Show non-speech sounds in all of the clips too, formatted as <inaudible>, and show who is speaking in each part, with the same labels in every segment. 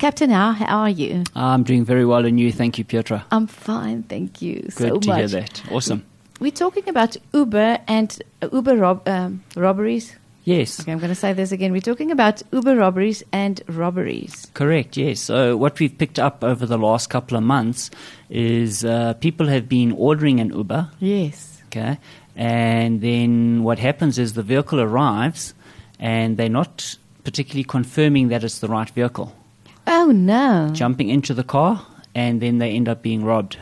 Speaker 1: Captain Al, how are you?
Speaker 2: I'm doing very well, and you? Thank you, Pietra.
Speaker 1: I'm fine, thank you
Speaker 2: Good
Speaker 1: so
Speaker 2: to
Speaker 1: much.
Speaker 2: hear that. Awesome.
Speaker 1: We're talking about Uber and uh, Uber rob- um, robberies.
Speaker 2: Yes.
Speaker 1: Okay, I'm going to say this again. We're talking about Uber robberies and robberies.
Speaker 2: Correct, yes. So, what we've picked up over the last couple of months is uh, people have been ordering an Uber,
Speaker 1: Yes.
Speaker 2: okay, and then what happens is the vehicle arrives and they're not particularly confirming that it's the right vehicle,
Speaker 1: Oh no.
Speaker 2: jumping into the car, and then they end up being robbed.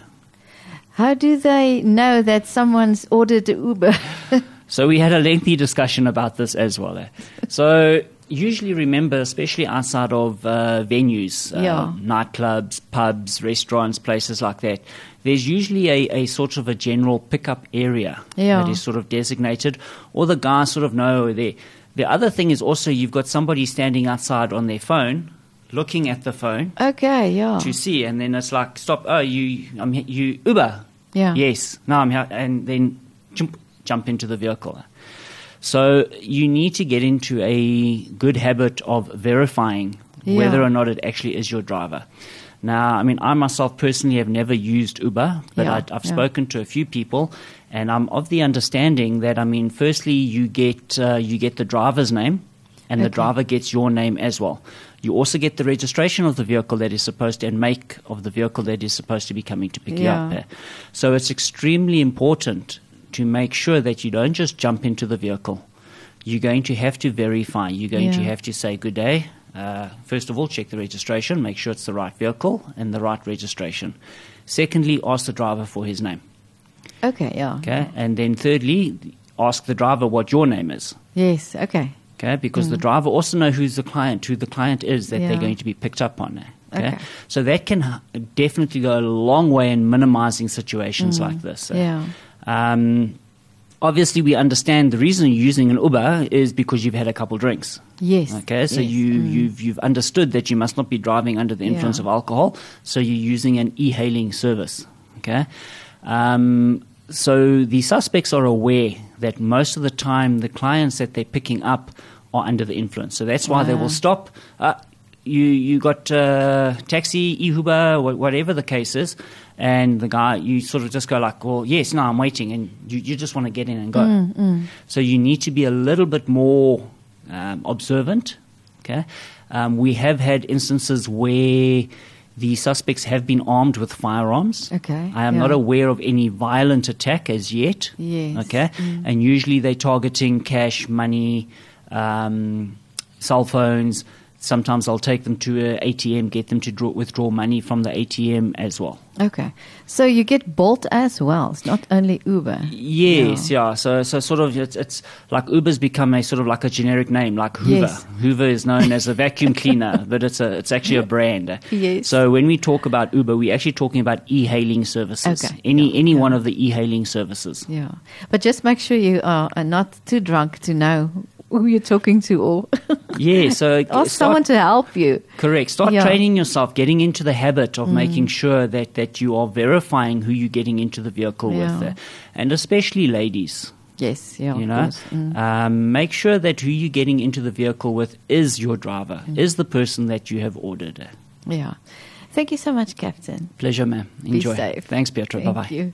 Speaker 1: How do they know that someone's ordered a Uber? <laughs>
Speaker 2: So we had a lengthy discussion about this as well. eh? So usually remember, especially outside of uh, venues, uh,
Speaker 1: Yeah.
Speaker 2: nightclubs, pubs, restaurants, places like that, there's usually a, a sort of a general pickup area
Speaker 1: Yeah.
Speaker 2: that is sort of designated, or the guys sort of know there. The other thing is also you've got somebody standing outside on their phone, looking at the phone
Speaker 1: okay, yeah.
Speaker 2: to see, and then it's like, stop, oh, you, I'm, he- you Uber.
Speaker 1: Yeah.
Speaker 2: Yes. No, I'm here. And then jump, jump into the vehicle. So you need to get into a good habit of verifying
Speaker 1: Yeah.
Speaker 2: whether or not it actually is your driver. Now, I mean, I myself personally have never used Uber, but
Speaker 1: Yeah,
Speaker 2: I, I've
Speaker 1: yeah.
Speaker 2: spoken to a few people, and I'm of the understanding that I mean, firstly, you get uh, you get the driver's name, and the
Speaker 1: Okay.
Speaker 2: driver gets your name as well. You also get the registration of the vehicle that is supposed to, and make of the vehicle that is supposed to be coming to pick
Speaker 1: Yeah.
Speaker 2: you up. eh? So it's extremely important to make sure that you don't just jump into the vehicle. You're going to have to verify. You're going to
Speaker 1: Yeah.
Speaker 2: have to say good day. Uh, first of all, check the registration, make sure it's the right vehicle and the right registration. Secondly, ask the driver for his name.
Speaker 1: Okay, yeah.
Speaker 2: Okay, and then thirdly, ask the driver what your name is.
Speaker 1: Yes, okay.
Speaker 2: Okay, because the driver also know who's the client, who the client is
Speaker 1: Mm.
Speaker 2: that
Speaker 1: Yeah.
Speaker 2: they're going to be picked up on. eh, Okay?
Speaker 1: Okay.
Speaker 2: so that can h- definitely go a long way in minimizing
Speaker 1: Mm.
Speaker 2: situations like this. eh?
Speaker 1: Yeah.
Speaker 2: Um, obviously, we understand the reason you're using an Uber is because you've had a couple drinks.
Speaker 1: Yes.
Speaker 2: Okay, so
Speaker 1: yes. Mm.
Speaker 2: you, you've, you've understood that you must not be driving under the influence
Speaker 1: Yeah.
Speaker 2: of alcohol, so you're using an e hailing service. Okay, um, so the suspects are aware that most of the time the clients that they're picking up are under the influence, so that's why they
Speaker 1: Wow.
Speaker 2: will stop. Uh, you, you got uh, taxi, e-Uber, wha- whatever the case is, and the guy, you sort of just go like, well, yes, no, I'm waiting, and you, you just want to get in and go.
Speaker 1: Mm,
Speaker 2: So you need to be a little bit more um, observant. Okay, um, we have had instances where the suspects have been armed with firearms.
Speaker 1: Okay,
Speaker 2: I am
Speaker 1: yeah.
Speaker 2: not aware of any violent attack as yet.
Speaker 1: Yes,
Speaker 2: Okay, and usually they're targeting cash, money, um, cell phones. Sometimes I'll take them to a ATM, get them to draw, withdraw money from the ATM as well.
Speaker 1: Mm, Okay. So you get Bolt as well. It's not only Uber.
Speaker 2: Yes, yeah. So, so sort of, it's, it's like Uber's become a sort of like a generic name, like Hoover.
Speaker 1: Yes.
Speaker 2: Hoover is known as a vacuum cleaner, <laughs> but it's a, it's actually a brand.
Speaker 1: Yes.
Speaker 2: So when we talk about Uber, we're actually talking about e-hailing services.
Speaker 1: Okay.
Speaker 2: Any any one of the e-hailing services.
Speaker 1: Yeah. But just make sure you uh, are are not too drunk to know who you're talking to or <laughs>
Speaker 2: Yeah. So
Speaker 1: ask
Speaker 2: start-
Speaker 1: someone to help you.
Speaker 2: Correct. Start
Speaker 1: Yeah. Mm.
Speaker 2: training yourself, getting into the habit of making sure that, that you are verifying who you're getting into the vehicle
Speaker 1: Yeah.
Speaker 2: with, uh, and especially ladies.
Speaker 1: Yes, yeah.
Speaker 2: you
Speaker 1: of
Speaker 2: know
Speaker 1: course. Mm.
Speaker 2: um, make sure that who you're getting into the vehicle with is your driver
Speaker 1: Mm.
Speaker 2: is the person that you have ordered
Speaker 1: Yeah. Thank you so much, Captain.
Speaker 2: pleasure ma'am enjoy
Speaker 1: Be safe.
Speaker 2: thanks pietro
Speaker 1: Thank
Speaker 2: bye-bye
Speaker 1: you.